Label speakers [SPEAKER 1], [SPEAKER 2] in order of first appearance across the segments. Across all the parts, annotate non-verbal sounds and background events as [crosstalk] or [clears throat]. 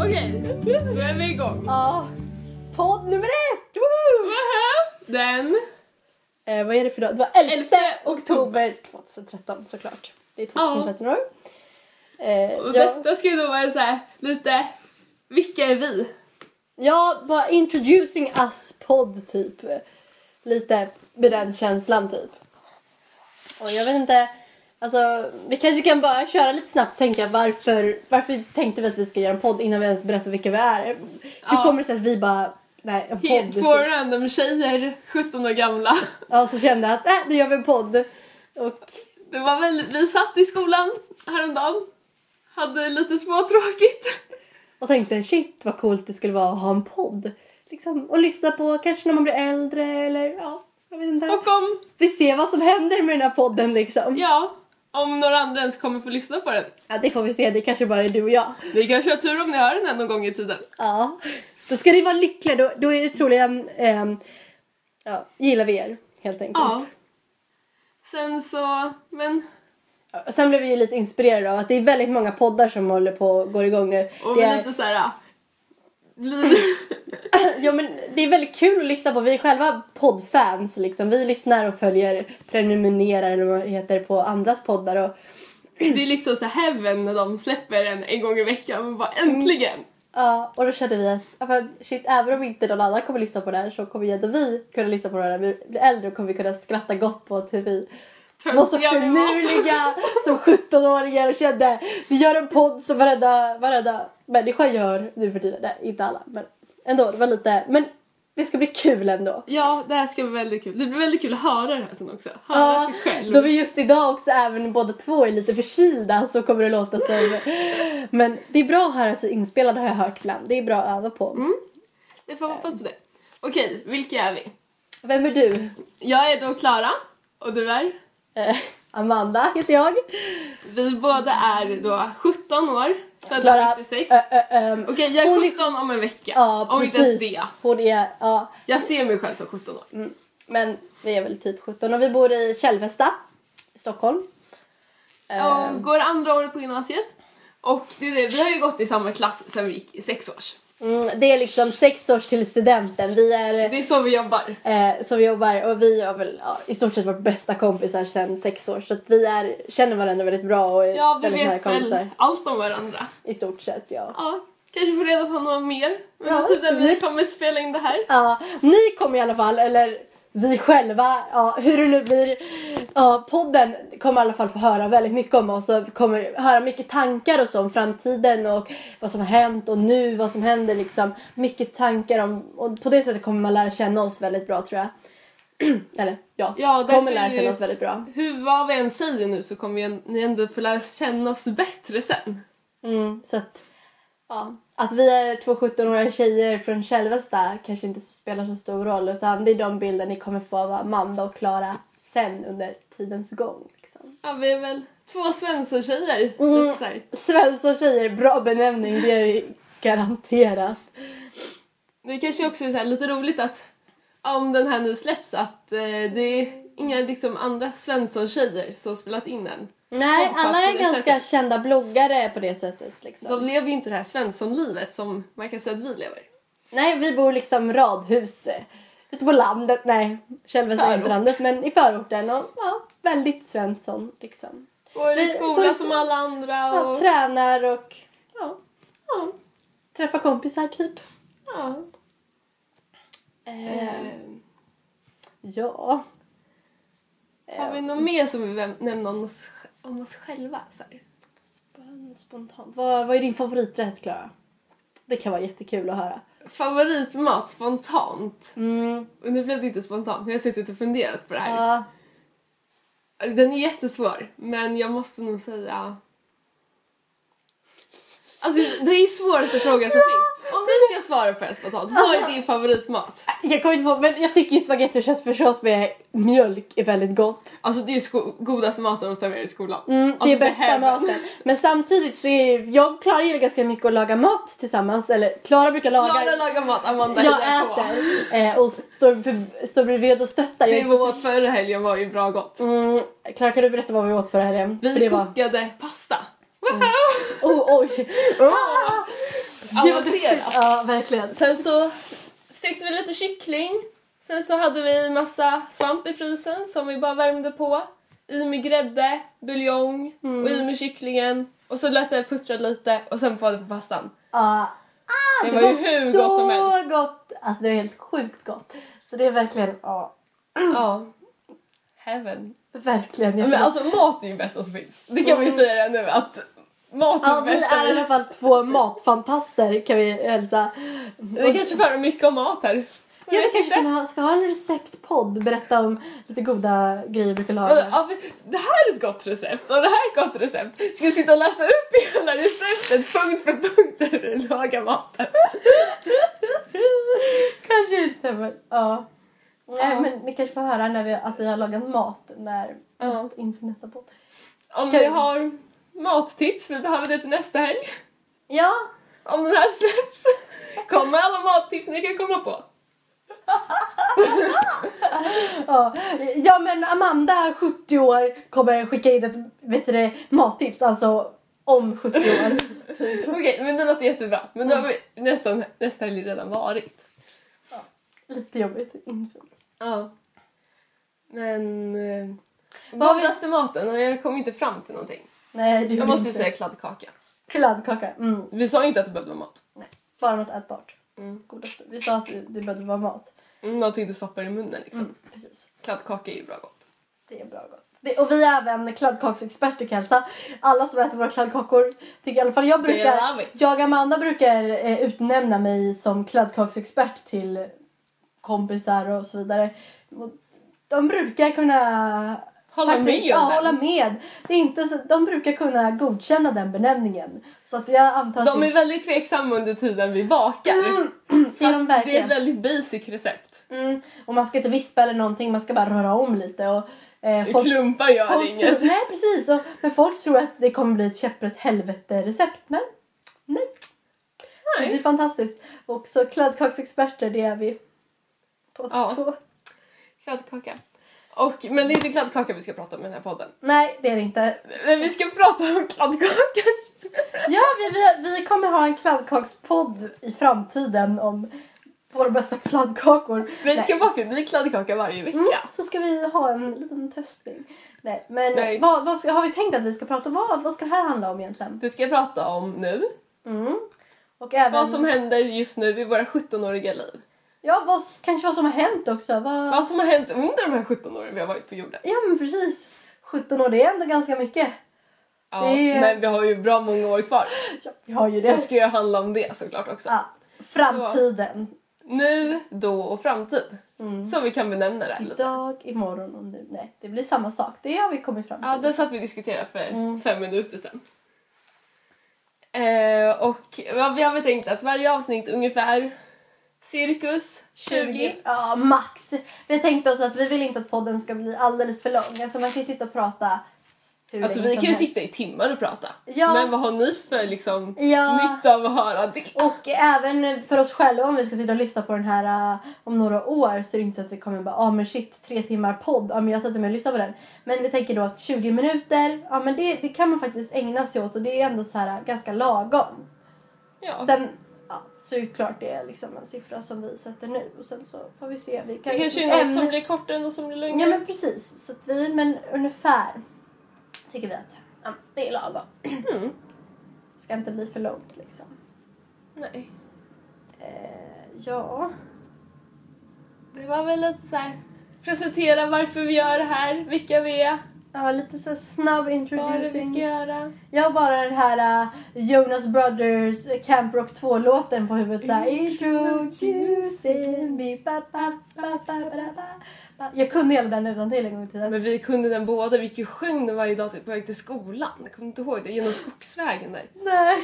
[SPEAKER 1] Okej, då är vi igång.
[SPEAKER 2] Ja. Podd nummer ett! Woo!
[SPEAKER 1] Den
[SPEAKER 2] Eh, vad är det för dag? Det var 11
[SPEAKER 1] 11
[SPEAKER 2] oktober 2013 såklart. Det är 2013 år. Eh,
[SPEAKER 1] Och
[SPEAKER 2] jag,
[SPEAKER 1] detta ska ju då vara så här lite, vilka är vi?
[SPEAKER 2] jag bara introducing us podd typ. Lite med den känslan typ. Och jag vet inte, alltså vi kanske kan bara köra lite snabbt tänka varför, varför tänkte vi att vi ska göra en podd innan vi ens berättar vilka vi är? Hur
[SPEAKER 1] Ja.
[SPEAKER 2] kommer det sig att vi bara, nej en
[SPEAKER 1] Helt
[SPEAKER 2] podd. typ?
[SPEAKER 1] två random tjejer, 17 år gamla.
[SPEAKER 2] Ja, så kände jag att äh, nu gör vi en podd. Och
[SPEAKER 1] Det var väl, vi satt i skolan häromdagen, hade lite småtråkigt.
[SPEAKER 2] Och tänkte shit vad coolt det skulle vara att ha en podd. Liksom, och lyssna på kanske när man blir äldre eller ja, jag vet inte.
[SPEAKER 1] Och om,
[SPEAKER 2] vi ser vad som händer med den här podden liksom. Ja.
[SPEAKER 1] ja, om några andra ens kommer få lyssna på den.
[SPEAKER 2] det får vi se, det kanske bara är du och jag.
[SPEAKER 1] Ni kanske har tur om ni hör den här någon gång i tiden.
[SPEAKER 2] Ja. Då ska ni vara lyckliga, då, då är det troligen, ehm, ja, gillar vi er helt enkelt.
[SPEAKER 1] Ja. Sen så, men
[SPEAKER 2] Ja, Sen blev vi ju lite inspirerade av att det är väldigt många poddar som håller på och går igång nu.
[SPEAKER 1] Och
[SPEAKER 2] det,
[SPEAKER 1] vi
[SPEAKER 2] är,
[SPEAKER 1] lite så här. ja, Blir...
[SPEAKER 2] ja, men det är väldigt kul att lyssna på, vi är själva poddfans liksom. Vi lyssnar och följer, prenumererar eller vad det heter på andras poddar och
[SPEAKER 1] Det är liksom så heaven när de släpper en en gång i veckan. Man bara äntligen!
[SPEAKER 2] Ja, och då kände vi att ja, men shit, även om inte någon annan kommer lyssna på det här så kommer ju ändå vi kunna lyssna på det här när vi blir äldre och kommer vi kunna skratta gott åt hur vi var så
[SPEAKER 1] Tösiga vi var så-
[SPEAKER 2] finurliga som 17-åringar och kände vi gör en podd som varenda, varenda människa gör nu för tiden. Nej, inte alla, men ändå. Det var lite, men det ska bli kul ändå.
[SPEAKER 1] Ja, det här ska bli väldigt kul. Det blir väldigt kul att höra det här sen också. Höra sig själv.
[SPEAKER 2] då vi just idag också även båda två är lite förkylda så kommer det låta som... Men det är bra att höra sig inspelad har jag hört ibland. Det är bra att öva på.
[SPEAKER 1] Mm. Jag får hoppas på det. Okej, vilka är vi?
[SPEAKER 2] Vem är du?
[SPEAKER 1] Jag är då Klara och du är?
[SPEAKER 2] Eh, Amanda heter jag.
[SPEAKER 1] Vi båda är då 17 år,
[SPEAKER 2] Klara,
[SPEAKER 1] födda 96.
[SPEAKER 2] eh, eh, ehm,
[SPEAKER 1] Okej, jag
[SPEAKER 2] hon är-
[SPEAKER 1] är 17 om en vecka.
[SPEAKER 2] Ja,
[SPEAKER 1] om inte ens
[SPEAKER 2] precis.
[SPEAKER 1] det.
[SPEAKER 2] Hon är, ja.
[SPEAKER 1] Jag ser mig själv som 17 år.
[SPEAKER 2] Mm. Men vi är väl typ 17 och vi bor i Kälvesta i Stockholm. Ehm,
[SPEAKER 1] Och går andra året på gymnasiet. Och det är det, vi har ju gått i samma klass sen vi gick i sex års.
[SPEAKER 2] mm, det är liksom sex års till studenten. Vi är
[SPEAKER 1] Det är så vi jobbar.
[SPEAKER 2] eh, som vi jobbar och vi har väl ja, i stort sett varit bästa kompisar sedan sex år så att vi är, känner varandra väldigt bra och är
[SPEAKER 1] Ja, vi
[SPEAKER 2] väldigt nära
[SPEAKER 1] vet
[SPEAKER 2] kompisar.
[SPEAKER 1] väl allt om varandra.
[SPEAKER 2] I stort sett ja.
[SPEAKER 1] Ja, kanske får reda på något mer
[SPEAKER 2] Ja,
[SPEAKER 1] under tiden vi
[SPEAKER 2] absolut.
[SPEAKER 1] kommer spela in det här.
[SPEAKER 2] Ja, ni kommer i alla fall, eller vi själva, ja, hur det nu blir. Ja, podden kommer i alla fall få höra väldigt mycket om oss och kommer höra mycket tankar och så om framtiden och vad som har hänt och nu, vad som händer liksom. Mycket tankar om, och på det sättet kommer man lära känna oss väldigt bra tror jag. [clears throat] eller ja,
[SPEAKER 1] Ja, därför
[SPEAKER 2] kommer
[SPEAKER 1] är
[SPEAKER 2] lära
[SPEAKER 1] det
[SPEAKER 2] känna
[SPEAKER 1] ju-
[SPEAKER 2] oss väldigt bra.
[SPEAKER 1] Hur vad vi än säger nu så kommer vi- ni ändå få lära känna oss bättre sen.
[SPEAKER 2] Mm, så att, ja, att vi är två 17-åriga tjejer från Kälvesta kanske inte spelar så stor roll utan det är de bilder ni kommer få av Amanda och Klara sen under tidens gång. Liksom.
[SPEAKER 1] Ja, vi är väl två Svensson-tjejer.
[SPEAKER 2] Mm.
[SPEAKER 1] lite så här.
[SPEAKER 2] Svensson tjejer, bra benämning, det är ju garanterat.
[SPEAKER 1] Det kanske också är så här lite roligt att ja, om den här nu släpps att eh, det är inga liksom, andra Svensson-tjejer som spelat in den.
[SPEAKER 2] Nej,
[SPEAKER 1] Podcast
[SPEAKER 2] alla
[SPEAKER 1] på
[SPEAKER 2] är
[SPEAKER 1] det
[SPEAKER 2] ganska
[SPEAKER 1] sättet.
[SPEAKER 2] kända bloggare på det sättet.
[SPEAKER 1] De
[SPEAKER 2] Liksom.
[SPEAKER 1] lever ju inte det här Svensson-livet som man kan säga att vi lever.
[SPEAKER 2] Nej, vi bor liksom radhus eh, ute på landet. Nej, Kälvesta är inte
[SPEAKER 1] Förort.
[SPEAKER 2] landet men i förorten och ja, väldigt Svensson liksom.
[SPEAKER 1] Går i
[SPEAKER 2] Vi- går i
[SPEAKER 1] skola som
[SPEAKER 2] skola.
[SPEAKER 1] alla andra
[SPEAKER 2] Ja,
[SPEAKER 1] och...
[SPEAKER 2] tränar och ja,
[SPEAKER 1] Ja,
[SPEAKER 2] träffar kompisar typ.
[SPEAKER 1] ja.
[SPEAKER 2] Eh,
[SPEAKER 1] Eh,
[SPEAKER 2] ja.
[SPEAKER 1] Har
[SPEAKER 2] Eh,
[SPEAKER 1] vi något mer som vi vill nämna om oss, om oss själva? Så här?
[SPEAKER 2] Eh, Spontant. Vad, vad är din favoriträtt, Klara? Det kan vara jättekul att höra.
[SPEAKER 1] Favoritmat spontant.
[SPEAKER 2] Mm.
[SPEAKER 1] Och nu blev det inte spontant, men jag har suttit och funderat på det här.
[SPEAKER 2] Ja.
[SPEAKER 1] Den är jättesvår, men jag måste nog säga... Alltså, det är ju svåraste frågan som finns. Om du ska svara på det här spontant. Vad är din favoritmat?
[SPEAKER 2] Jag kommer inte på, men jag tycker ju spagetti och köttfärssås med mjölk är väldigt gott.
[SPEAKER 1] Alltså det är ju sko- godaste maten de serverar i skolan.
[SPEAKER 2] Mm, det
[SPEAKER 1] alltså,
[SPEAKER 2] är bästa
[SPEAKER 1] heaven.
[SPEAKER 2] maten. Men samtidigt så är ju- jag och Klara gillar ganska mycket att laga mat tillsammans. Eller Klara brukar laga.
[SPEAKER 1] Klara lagar mat, Amanda
[SPEAKER 2] jag
[SPEAKER 1] hittar på.
[SPEAKER 2] äter eh, och står, för, står bredvid och stöttar. Jag
[SPEAKER 1] Det
[SPEAKER 2] är
[SPEAKER 1] vi
[SPEAKER 2] inte så-
[SPEAKER 1] åt förra helgen var ju bra gott.
[SPEAKER 2] Mm, Klara kan du berätta vad vi åt förra helgen? För
[SPEAKER 1] Vi
[SPEAKER 2] det var...
[SPEAKER 1] kokade pasta.
[SPEAKER 2] oh, [laughs] oj!
[SPEAKER 1] Oh. Avancerat.
[SPEAKER 2] Ja, verkligen.
[SPEAKER 1] Sen så stekte vi lite kyckling. Sen så hade vi massa svamp i frysen som vi bara värmde på. I med grädde, buljong och
[SPEAKER 2] Mm.
[SPEAKER 1] i med kycklingen. Och så lät det puttra lite och sen på det på pastan.
[SPEAKER 2] Ja. ah,
[SPEAKER 1] Det var ju hur gott som helst.
[SPEAKER 2] så gott! Alltså det var helt sjukt gott. Så det är verkligen, ja.
[SPEAKER 1] Ja. Heaven.
[SPEAKER 2] Verkligen. Jag
[SPEAKER 1] Men
[SPEAKER 2] tror-
[SPEAKER 1] alltså mat är ju bästa som finns. Det kan vi ju säga redan nu att mat är
[SPEAKER 2] Mm. Ja, vi
[SPEAKER 1] bästa.
[SPEAKER 2] är i alla fall två matfantaster kan vi hälsa.
[SPEAKER 1] Vi kanske för mycket om mat här. Men
[SPEAKER 2] Jag
[SPEAKER 1] jag
[SPEAKER 2] kanske
[SPEAKER 1] tyckte-
[SPEAKER 2] kan ha, ska ha en receptpodd, berätta om lite goda grejer vi brukar laga.
[SPEAKER 1] Ja, men Det här är ett gott recept och det här är ett gott recept. Ska vi sitta och läsa upp hela receptet punkt för punkt hur du lagar maten?
[SPEAKER 2] [laughs] kanske inte men ja. Nej
[SPEAKER 1] Ja.
[SPEAKER 2] men ni kanske får höra när vi, att vi har lagat mat när,
[SPEAKER 1] Ja.
[SPEAKER 2] inför nästa podd.
[SPEAKER 1] Om
[SPEAKER 2] Kan-
[SPEAKER 1] ni har mattips, vi behöver det till nästa helg.
[SPEAKER 2] Ja,
[SPEAKER 1] Om den här släpps, kom med alla mattips ni kan komma på.
[SPEAKER 2] ja. ja men Amanda 70 år kommer skicka in ett vet du, det, mattips alltså om 70 år.
[SPEAKER 1] [laughs] Okej, men det låter jättebra. Men då har vi nästan, nästa helg redan varit.
[SPEAKER 2] Lite jobbigt inför.
[SPEAKER 1] Ja. Men... eh,
[SPEAKER 2] Vad har vi-
[SPEAKER 1] Godaste maten, jag kom inte fram till någonting.
[SPEAKER 2] Nej du
[SPEAKER 1] Jag måste ju säga kladdkaka.
[SPEAKER 2] Kladdkaka. Mm.
[SPEAKER 1] Vi sa ju inte att det behövde vara mat.
[SPEAKER 2] Bara något ätbart.
[SPEAKER 1] Mm.
[SPEAKER 2] Godaste. Vi sa att det det behövde vara mat.
[SPEAKER 1] Mm, Någonting du stoppar i munnen liksom.
[SPEAKER 2] Mm, precis.
[SPEAKER 1] Kladdkaka är ju bra gott.
[SPEAKER 2] Det är bra gott. Det, och vi är även kladdkaksexperter kan jag hälsa. Alla som äter våra kladdkakor tycker i alla fall jag brukar...
[SPEAKER 1] Det är vi.
[SPEAKER 2] Jag och Amanda brukar eh, utnämna mig som kladdkaksexpert till kompisar och så vidare. Och De brukar kunna...
[SPEAKER 1] Hålla med om
[SPEAKER 2] ja,
[SPEAKER 1] den.
[SPEAKER 2] hålla med. Det är inte så, de brukar kunna godkänna den benämningen. Så att jag antar att
[SPEAKER 1] De
[SPEAKER 2] det-
[SPEAKER 1] är väldigt tveksamma under tiden vi bakar.
[SPEAKER 2] Mm, det är de
[SPEAKER 1] För att det är
[SPEAKER 2] verkligen.
[SPEAKER 1] ett väldigt basic recept.
[SPEAKER 2] Mm, och man ska inte vispa eller någonting, man ska bara röra om lite. Och, eh,
[SPEAKER 1] I
[SPEAKER 2] folk-
[SPEAKER 1] klumpar gör
[SPEAKER 2] Folk
[SPEAKER 1] inget.
[SPEAKER 2] tror, nej precis, och, men folk tror att det kommer bli ett käpprätt helvete recept. Men det blir
[SPEAKER 1] Nej.
[SPEAKER 2] fantastiskt. Och så kladdkaksexperter, det är vi. På
[SPEAKER 1] Ja.
[SPEAKER 2] två.
[SPEAKER 1] Kladdkaka. Och, men det är inte kladdkaka vi ska prata om i den här podden.
[SPEAKER 2] Nej, det är det inte.
[SPEAKER 1] Men vi ska prata om kladdkaka.
[SPEAKER 2] Ja, vi, vi, vi kommer ha en kladdkakspodd i framtiden om våra bästa kladdkakor.
[SPEAKER 1] Vi ska baka en ny kladdkaka varje vecka.
[SPEAKER 2] Mm, så ska vi ha en liten testning. Nej, men
[SPEAKER 1] Nej.
[SPEAKER 2] Vad, vad ska, har vi tänkt att vi ska prata om? Vad, vad ska det här handla om egentligen?
[SPEAKER 1] Det ska jag prata om nu.
[SPEAKER 2] Mm. Och även,
[SPEAKER 1] Vad som händer just nu i våra 17-åriga liv.
[SPEAKER 2] ja, vad, kanske vad som har hänt också. Vad,
[SPEAKER 1] Vad som har hänt under de här 17 åren vi har varit på jorden.
[SPEAKER 2] Ja men precis. 17 år, det är ändå ganska mycket.
[SPEAKER 1] Ja,
[SPEAKER 2] Det är-
[SPEAKER 1] Men vi har ju bra många år kvar.
[SPEAKER 2] Ja, vi har ju
[SPEAKER 1] Så
[SPEAKER 2] det.
[SPEAKER 1] ska jag handla om det såklart också.
[SPEAKER 2] Ja, framtiden. Mm.
[SPEAKER 1] Nu, då och framtid. Som vi kan benämna det här lite.
[SPEAKER 2] Idag, imorgon och nu. Nej, det blir samma sak. Det har vi kommit fram till.
[SPEAKER 1] Ja, det satt vi och diskuterade för
[SPEAKER 2] Mm.
[SPEAKER 1] fem minuter sedan. Eh, och vad vi har väl tänkt att varje avsnitt ungefär cirkus 20.
[SPEAKER 2] Ja, max. Vi tänkte oss att vi vill inte att podden ska bli alldeles för lång. Alltså man kan ju sitta och prata hur
[SPEAKER 1] Alltså
[SPEAKER 2] länge
[SPEAKER 1] vi
[SPEAKER 2] som
[SPEAKER 1] kan ju
[SPEAKER 2] helst.
[SPEAKER 1] sitta i timmar och prata.
[SPEAKER 2] Ja.
[SPEAKER 1] Men vad har ni för liksom
[SPEAKER 2] Ja.
[SPEAKER 1] nytta av att höra det?
[SPEAKER 2] Och även för oss själva om vi ska sitta och lyssna på den här äh, om några år så är det inte så att vi kommer bara ja ah, men shit tre timmar podd, ja men jag sätter mig och lyssnar på den. Men vi tänker då att 20 minuter, ja men det, det kan man faktiskt ägna sig åt och det är ändå så här äh, ganska lagom.
[SPEAKER 1] Ja.
[SPEAKER 2] Sen ja, så är det klart det är liksom en siffra som vi sätter nu och sen så får vi se. Vi kan,
[SPEAKER 1] Det kanske är något
[SPEAKER 2] ämnet-
[SPEAKER 1] som blir kortare och något som blir
[SPEAKER 2] Ja
[SPEAKER 1] längre.
[SPEAKER 2] men precis, så att vi, men ungefär tycker vi att ja, det är lagom.
[SPEAKER 1] Mm.
[SPEAKER 2] Ska inte bli för långt liksom.
[SPEAKER 1] Nej.
[SPEAKER 2] Eh, ja.
[SPEAKER 1] Det var väl lite så här. presentera varför vi gör det här, vilka vi är,
[SPEAKER 2] Ja, lite så här snabb
[SPEAKER 1] vad det är vi ska
[SPEAKER 2] introducing.
[SPEAKER 1] göra.
[SPEAKER 2] Jag har bara den här äh, Jonas Brothers äh, Camp Rock 2-låten på huvudet. Så här, introducing me, ba, ba, ba, ba, ba, ba, ba. Jag kunde hela den utan till en gång i tiden.
[SPEAKER 1] Men vi kunde den båda, vi gick ju och sjöng den varje dag typ på väg till skolan. Jag kommer inte ihåg det, genom skogsvägen där.
[SPEAKER 2] Nej.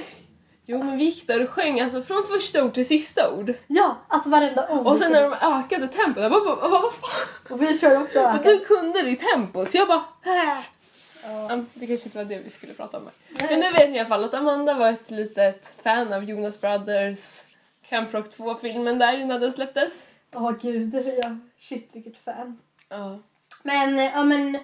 [SPEAKER 1] Jo men vi gick där och sjöng alltså från första ord till sista ord.
[SPEAKER 2] Ja, alltså varenda ord.
[SPEAKER 1] Och sen när de ökade tempot, jag bara, jag bara vad fan?
[SPEAKER 2] Och vi kör också
[SPEAKER 1] Och du kunde det i tempot, så jag bara äh.
[SPEAKER 2] Ja.
[SPEAKER 1] Ja, Det kanske inte var det vi skulle prata om. Men nu vet ni i alla fall att Amanda var ett litet fan av Jonas Brothers Camp Rock 2-filmen där innan den släpptes.
[SPEAKER 2] Åh gud, ja. shit vilket fan.
[SPEAKER 1] Ja.
[SPEAKER 2] Men, eh, ja men.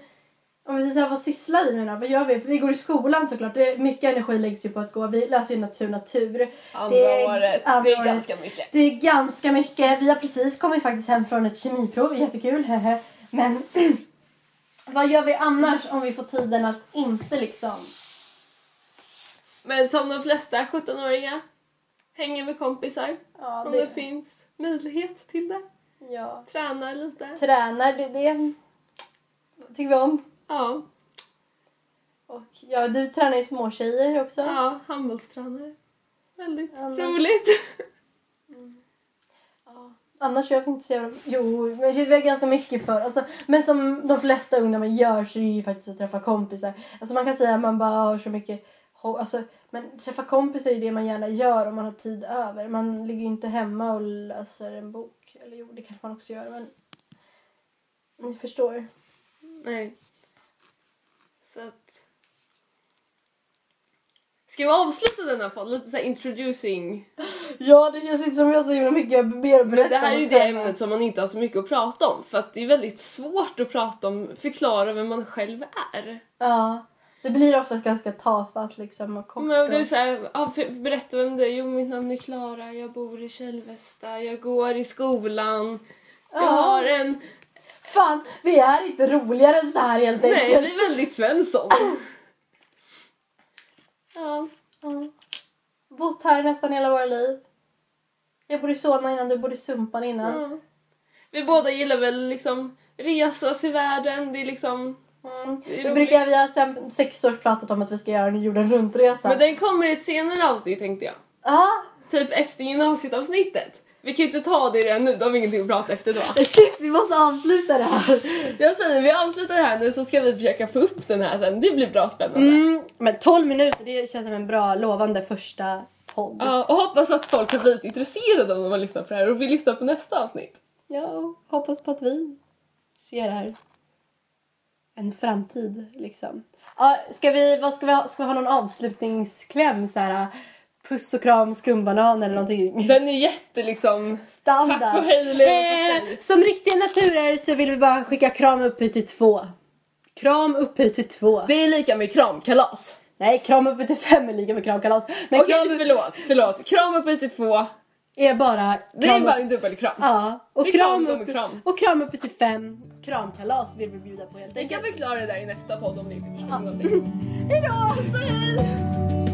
[SPEAKER 2] Om vi säger såhär, vad sysslar vi med då? Vad gör vi? För vi går i skolan såklart. Det är, mycket energi läggs ju på att gå. Vi läser ju natur, natur.
[SPEAKER 1] Andra
[SPEAKER 2] Det är-
[SPEAKER 1] året,
[SPEAKER 2] andra
[SPEAKER 1] det är
[SPEAKER 2] året.
[SPEAKER 1] ganska mycket.
[SPEAKER 2] Det är ganska mycket. Vi har precis kommit faktiskt hem från ett kemiprov. Jättekul. hehe. Men [clears throat] vad gör vi annars om vi får tiden att inte liksom...
[SPEAKER 1] Men som de flesta 17-åringar, hänger med kompisar
[SPEAKER 2] Ja,
[SPEAKER 1] om
[SPEAKER 2] det,
[SPEAKER 1] det finns möjlighet till det.
[SPEAKER 2] ja.
[SPEAKER 1] Tränar lite.
[SPEAKER 2] Tränar, det, det tycker vi om.
[SPEAKER 1] Ja,
[SPEAKER 2] Och ja, du tränar ju småtjejer också.
[SPEAKER 1] ja handbollstränare. Väldigt
[SPEAKER 2] Annars-
[SPEAKER 1] roligt.
[SPEAKER 2] Ja. Annars gör vi inte så jävla... Jo, men vi har ganska mycket för. Alltså, men som de flesta ungdomar gör så är det ju faktiskt att träffa kompisar. Alltså man kan säga att man bara har så mycket... ho- Alltså, men träffa kompisar är ju det man gärna gör om man har tid över. Man ligger ju inte hemma och läser en bok. Eller jo, det kanske man också gör, men... Ni förstår.
[SPEAKER 1] Nej. Så att... Ska vi avsluta denna podd? Lite så här introducing.
[SPEAKER 2] Ja, det känns inte som jag har så himla mycket mer att
[SPEAKER 1] Men det här är ju det
[SPEAKER 2] ämnet.
[SPEAKER 1] ämnet som man inte har så mycket att prata om. För att det är väldigt svårt att prata om, förklara vem man själv är.
[SPEAKER 2] Ja. Det blir ofta ganska tafatt liksom och kort.
[SPEAKER 1] Men det är
[SPEAKER 2] och-
[SPEAKER 1] så här, ja, för- berätta vem du är. Jo, mitt namn är Klara, jag bor i Kälvesta, jag går i skolan. Jag
[SPEAKER 2] Ja.
[SPEAKER 1] har en...
[SPEAKER 2] Fan, vi är inte roligare än så här helt
[SPEAKER 1] Nej,
[SPEAKER 2] enkelt.
[SPEAKER 1] vi är väldigt Svensson. Ja.
[SPEAKER 2] Ja. Mm. Bott här nästan hela våra liv. Jag bodde i Solna innan, du bodde i Sumpan innan.
[SPEAKER 1] Ja. Vi båda gillar väl liksom resas i världen. Det är liksom...
[SPEAKER 2] Mm.
[SPEAKER 1] Det är
[SPEAKER 2] Vi,
[SPEAKER 1] roligt.
[SPEAKER 2] brukar, vi har sen sex års pratat om att vi ska göra en jorden runt-resa.
[SPEAKER 1] Men den kommer i ett senare avsnitt tänkte jag.
[SPEAKER 2] Ja,
[SPEAKER 1] Typ efter gymnasieavsnittet. Vi kan ju inte ta det redan nu, då har vi ingenting att prata efter då.
[SPEAKER 2] shit vi måste avsluta det här.
[SPEAKER 1] Jag säger vi avslutar det här nu så ska vi försöka få upp den här sen. Det blir bra spännande.
[SPEAKER 2] Mm, men 12 minuter, det känns som en bra, lovande första podd.
[SPEAKER 1] Ja, och hoppas att folk har blivit intresserade om de har lyssnat på det här och vill lyssna på nästa avsnitt.
[SPEAKER 2] Ja, hoppas på att vi ser här en framtid liksom. Ja, ska vi, vad ska vi ha, ska vi ha någon avslutningskläm så här? Puss och kram, skumbanan eller någonting.
[SPEAKER 1] Den är jätte liksom...
[SPEAKER 2] Standard.
[SPEAKER 1] Tack och hej, Lena
[SPEAKER 2] eh,
[SPEAKER 1] Stanley.
[SPEAKER 2] Som riktiga naturer så vill vi bara skicka kram upphöjt till två. Kram upphöjt till två.
[SPEAKER 1] Det är lika med kramkalas.
[SPEAKER 2] Nej, kram upphöjt till fem är lika med kramkalas. Men
[SPEAKER 1] Okej,
[SPEAKER 2] kram
[SPEAKER 1] förlåt, förlåt. Kram upp till två.
[SPEAKER 2] är bara...
[SPEAKER 1] Det är
[SPEAKER 2] kram-
[SPEAKER 1] bara en dubbelkram.
[SPEAKER 2] Ja, och
[SPEAKER 1] Det är kram
[SPEAKER 2] kram,
[SPEAKER 1] gånger
[SPEAKER 2] upp,
[SPEAKER 1] kram.
[SPEAKER 2] och kram upphöjt till fem. Kramkalas vill vi bjuda på helt
[SPEAKER 1] Vi
[SPEAKER 2] enkelt.
[SPEAKER 1] kan förklara det där i nästa podd om ni inte förstår
[SPEAKER 2] Ja.
[SPEAKER 1] någonting.
[SPEAKER 2] Hejdå!
[SPEAKER 1] Puss och hej!